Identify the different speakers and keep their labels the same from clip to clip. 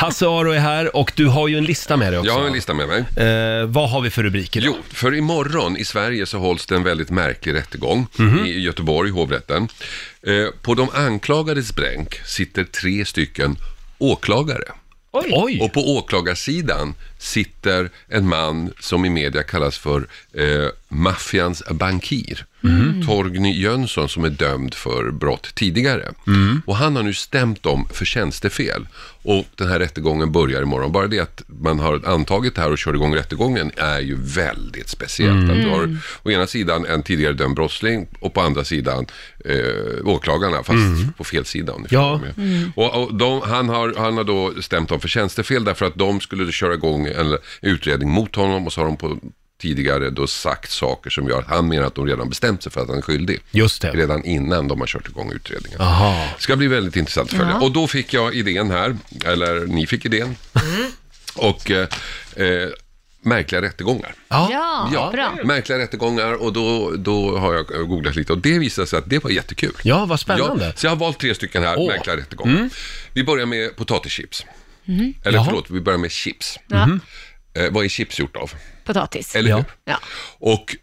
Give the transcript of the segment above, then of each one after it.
Speaker 1: Hasse Aro är här och du har ju en lista med dig också.
Speaker 2: Jag har en lista med mig.
Speaker 1: Eh, vad har vi för rubriker?
Speaker 2: Jo, för imorgon i Sverige så hålls det en väldigt märklig rättegång i Göteborg, hovrätten. Eh, på de anklagades bänk sitter tre stycken åklagare.
Speaker 1: Oj! Oj.
Speaker 2: Och på åklagarsidan sitter en man som i media kallas för eh, maffians bankir.
Speaker 1: Mhm.
Speaker 2: Torgny Jönsson som är dömd för brott tidigare.
Speaker 1: Mhm.
Speaker 2: Och han har nu stämt dem för tjänstefel. Och den här rättegången börjar imorgon. Bara det att man har antagit det här och kör igång rättegången är ju väldigt speciellt.
Speaker 1: Mm.
Speaker 2: Att du har å ena sidan en tidigare dömd brottsling och på andra sidan eh, åklagarna, fast på fel sida. Om ni
Speaker 1: Mm. Ja.
Speaker 2: förstår vad jag menar.
Speaker 1: Mm.
Speaker 2: Och, och de, han, har, han har då stämt dem för tjänstefel därför att de skulle köra igång en utredning mot honom och så har de på tidigare då sagt saker som gör att han menar att de redan bestämt sig för att han är skyldig.
Speaker 1: Just det. Ah.
Speaker 2: Redan innan de har kört igång utredningen.
Speaker 1: Aha.
Speaker 2: Det ska bli väldigt intressant att följa.
Speaker 3: Ja.
Speaker 2: Och då fick jag idén här, eller ni fick idén.
Speaker 3: Mm.
Speaker 2: Och eh, eh, märkliga rättegångar.
Speaker 1: Ja.
Speaker 3: Ja, bra.
Speaker 2: Märkliga rättegångar och då, då har jag googlat lite och det visade sig att det var jättekul.
Speaker 1: Ja, vad spännande.
Speaker 2: Ja, så jag har valt tre stycken här,
Speaker 1: Åh. Mm.
Speaker 2: märkliga rättegångar. Vi börjar med potatischips. Eller
Speaker 1: Mhm. Jaha.
Speaker 2: förlåt, vi börjar med chips.
Speaker 3: Ja.
Speaker 1: Mhm.
Speaker 2: Eh, vad är chips gjort av?
Speaker 3: Potatis.
Speaker 2: Eller
Speaker 1: Ja.
Speaker 2: hur?
Speaker 3: Ja.
Speaker 2: Och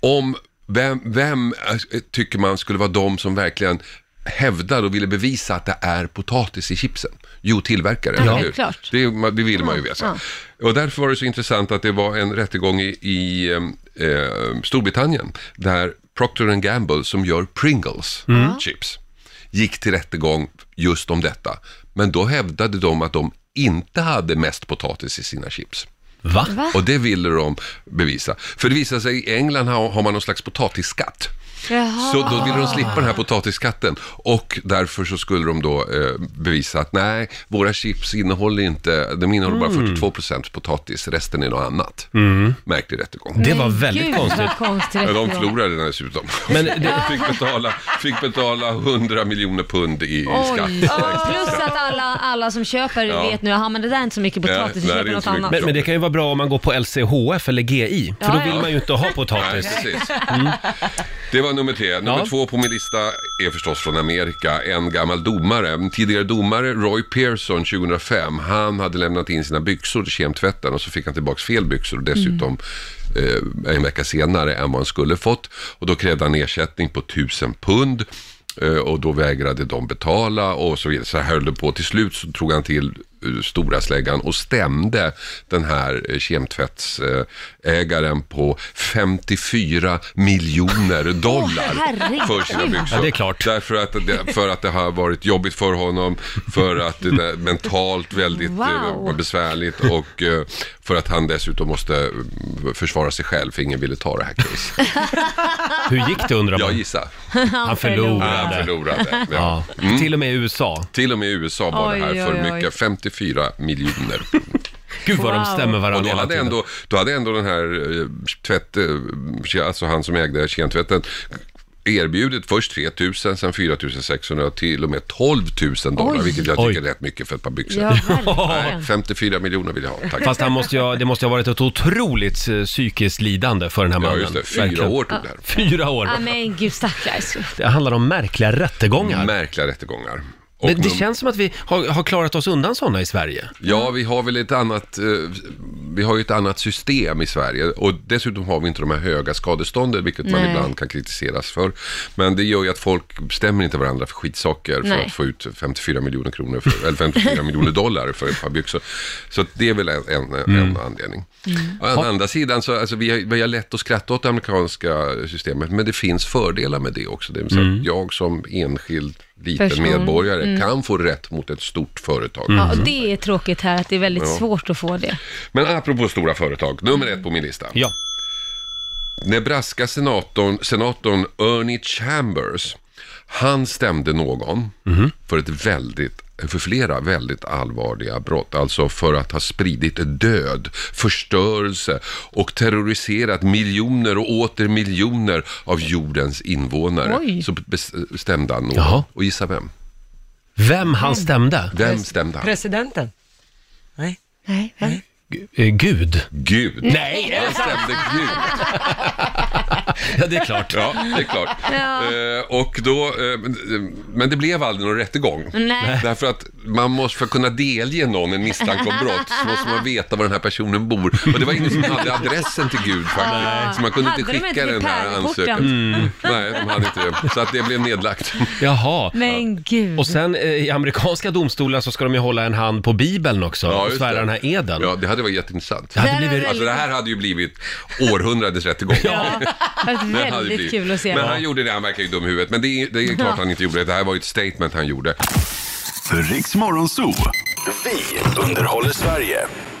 Speaker 2: om, vem, vem eh, tycker man skulle vara de som verkligen hävdar och ville bevisa att det är potatis i chipsen? Jo, tillverkare. eller hur?
Speaker 3: självklart.
Speaker 2: Det, är- det vill man ju veta. Och därför var det så intressant att det var en rättegång i, i eh, eh, Storbritannien där Procter Gamble som gör Pringles chips gick till rättegång just om detta. Men då hävdade de att de inte hade mest potatis i sina chips.
Speaker 1: Va?
Speaker 3: Va?
Speaker 2: Och det ville de bevisa. För det visar sig i England har, har man någon slags potatisskatt.
Speaker 3: Jaha.
Speaker 2: Så då ville de slippa den här potatisskatten och därför så skulle de då eh, bevisa att nej, våra chips innehåller inte, de innehåller
Speaker 1: Mm.
Speaker 2: bara 42% potatis, resten är något annat. Märklig rättegång.
Speaker 1: Det var väldigt
Speaker 3: Gud,
Speaker 1: konstigt.
Speaker 3: Vad konstigt
Speaker 2: Men de
Speaker 3: det var.
Speaker 2: förlorade den dessutom.
Speaker 1: Men det,
Speaker 2: Fick betala, fick betala 100 miljoner pund i, i skatt.
Speaker 3: Oj. Ja, Plus att alla, alla som köper
Speaker 2: Ja.
Speaker 3: vet nu, jaha men det där är inte så mycket
Speaker 2: Nej, nej,
Speaker 3: potatis, vi
Speaker 2: det är
Speaker 3: köper
Speaker 2: inte
Speaker 3: något
Speaker 2: så mycket.
Speaker 3: annat.
Speaker 1: men, men det kan ju vara bra om man går på LCHF eller GI, för då
Speaker 3: Ja,
Speaker 1: vill
Speaker 3: ja.
Speaker 1: man ju inte ha
Speaker 2: Nej,
Speaker 1: potatis. Mm.
Speaker 2: precis. Det var nummer tre. Nummer
Speaker 1: Ja.
Speaker 2: två på min lista är förstås från Amerika. En gammal domare, en tidigare domare, Roy Pearson 2005. Han hade lämnat in sina byxor till kemtvätten och så fick han tillbaks fel byxor och dessutom eh, en vecka senare än vad han skulle fått. Och då krävde han ersättning på 1000 pund. eh, Och då vägrade de betala och så vidare. Så här höll det på. Till slut så tog han till eh, stora släggan och stämde den här eh, kemtvättsägaren på 54 miljoner dollar
Speaker 3: herregud.
Speaker 2: för sina byxor.
Speaker 1: Ja, det är klart.
Speaker 2: Därför att det, för att det har varit jobbigt för honom, för att det är mentalt väldigt eh,
Speaker 3: Wow.
Speaker 2: besvärligt och eh, för att han dessutom måste eh, försvara sig själv för ingen ville ta det här caset.
Speaker 1: Hur gick det undrar
Speaker 2: Jag
Speaker 1: man?
Speaker 2: gissar.
Speaker 1: Han
Speaker 2: Han
Speaker 1: förlorade.
Speaker 2: förlorade. Ja. Mm.
Speaker 1: Ja. Till och med i USA.
Speaker 2: Till och med i USA var det
Speaker 3: Oj,
Speaker 2: här för
Speaker 3: oj, oj.
Speaker 2: mycket. 54 miljoner.
Speaker 1: Gud vad de
Speaker 3: Wow.
Speaker 1: stämmer
Speaker 2: Och då
Speaker 1: varandra hela
Speaker 2: hade,
Speaker 1: tiden.
Speaker 2: ändå, då hade ändå den här eh, tvätt, eh, alltså han som ägde kemtvätten erbjudit först 3 000, sen 4 600 och till och med 12 000 dollar,
Speaker 3: Oj.
Speaker 2: vilket jag tycker
Speaker 1: Oj.
Speaker 2: är rätt mycket för ett par byxor.
Speaker 3: Ja,
Speaker 2: Nej,
Speaker 3: verkligen.
Speaker 2: 54 miljoner vill jag ha, tack.
Speaker 1: Fast han måste ju, ha- det måste ju ha varit ett otroligt eh, psykiskt lidande för den här mannen.
Speaker 2: ja, just det. Fyra
Speaker 1: Verkligen.
Speaker 2: år tog det här.
Speaker 1: Fyra år.
Speaker 3: Ja, men gud stackars.
Speaker 2: Mm.
Speaker 1: Det handlar om märkliga rättegångar.
Speaker 2: Märkliga rättegångar. Och
Speaker 1: Men det
Speaker 2: num-
Speaker 1: känns som att vi har, har klarat oss undan sådana i Sverige.
Speaker 2: Ja, vi har väl ett annat, eh, vi har ju ett annat system i Sverige och dessutom har vi inte de här höga skadestånden, vilket man
Speaker 3: Nej.
Speaker 2: ibland kan kritiseras för. Men det gör ju att folk stämmer inte varandra för skitsaker för
Speaker 3: Nej.
Speaker 2: att få ut 54 miljoner kronor, för, eller 54 miljoner dollar för ett par byxor. Så att det är väl en, en, en anledning.
Speaker 3: Mm.
Speaker 2: Å andra sidan så, alltså vi har, vi har lätt att skratta åt det amerikanska systemet, men det finns fördelar med det också. Det vill säga att jag som enskild liten
Speaker 3: Person. Mm.
Speaker 2: medborgare kan få rätt mot ett stort företag.
Speaker 3: Ja, och det är tråkigt här att det är väldigt svårt att få det.
Speaker 2: Men apropå stora företag, nummer ett på min lista.
Speaker 1: Ja.
Speaker 2: Nebraska-senatorn senatorn Ernie Chambers, han stämde någon
Speaker 1: Mhm.
Speaker 2: för, ett väldigt, för flera väldigt allvarliga brott. Alltså för att ha spridit död, förstörelse och terroriserat miljoner och åter miljoner av jordens invånare.
Speaker 3: Oj.
Speaker 2: Så bes- stämde han någon.
Speaker 1: Jaha.
Speaker 2: Och gissa vem?
Speaker 1: Vem han stämde?
Speaker 2: Vem stämde han?
Speaker 4: Presidenten? Nej.
Speaker 3: Nej, vem?
Speaker 1: G- eh, Gud.
Speaker 2: Gud!
Speaker 1: Nej!
Speaker 2: Han stämde Gud!
Speaker 1: Ja, det är klart.
Speaker 2: Ja, det är klart.
Speaker 3: Ja.
Speaker 2: Eh, och då, eh, men- men det blev aldrig någon rättegång.
Speaker 3: Nej.
Speaker 2: Därför att man måste, för att kunna delge någon en misstanke om brott, så måste man veta var den här personen bor. Och det var ingen som hade adressen till Gud faktiskt. Så man kunde inte
Speaker 3: Hade de
Speaker 2: skicka
Speaker 3: inte
Speaker 2: den här
Speaker 3: pärlporten?
Speaker 2: ansökan.
Speaker 1: Mm.
Speaker 2: Nej, de hade inte det. Så att det blev nedlagt.
Speaker 1: Jaha.
Speaker 3: Men gud.
Speaker 1: Och sen eh, i amerikanska domstolar så ska de ju hålla en hand på bibeln också
Speaker 2: Ja,
Speaker 1: och
Speaker 2: just
Speaker 1: svära
Speaker 2: det.
Speaker 1: den här eden.
Speaker 2: Ja, det hade varit jätteintressant.
Speaker 1: Det hade
Speaker 3: Det
Speaker 1: blivit...
Speaker 3: var
Speaker 2: Alltså det här hade ju blivit århundradets rättegång.
Speaker 3: Ja, det hade
Speaker 2: Den
Speaker 3: varit
Speaker 2: hade
Speaker 3: väldigt
Speaker 2: blivit.
Speaker 3: kul att se.
Speaker 2: Men han gjorde det, han verkar ju dum i huvudet. Men det är, det är klart
Speaker 3: Ja.
Speaker 2: han inte gjorde det. Det här var ju ett statement han gjorde.
Speaker 5: Riks Morgonzoo. Vi underhåller Sverige.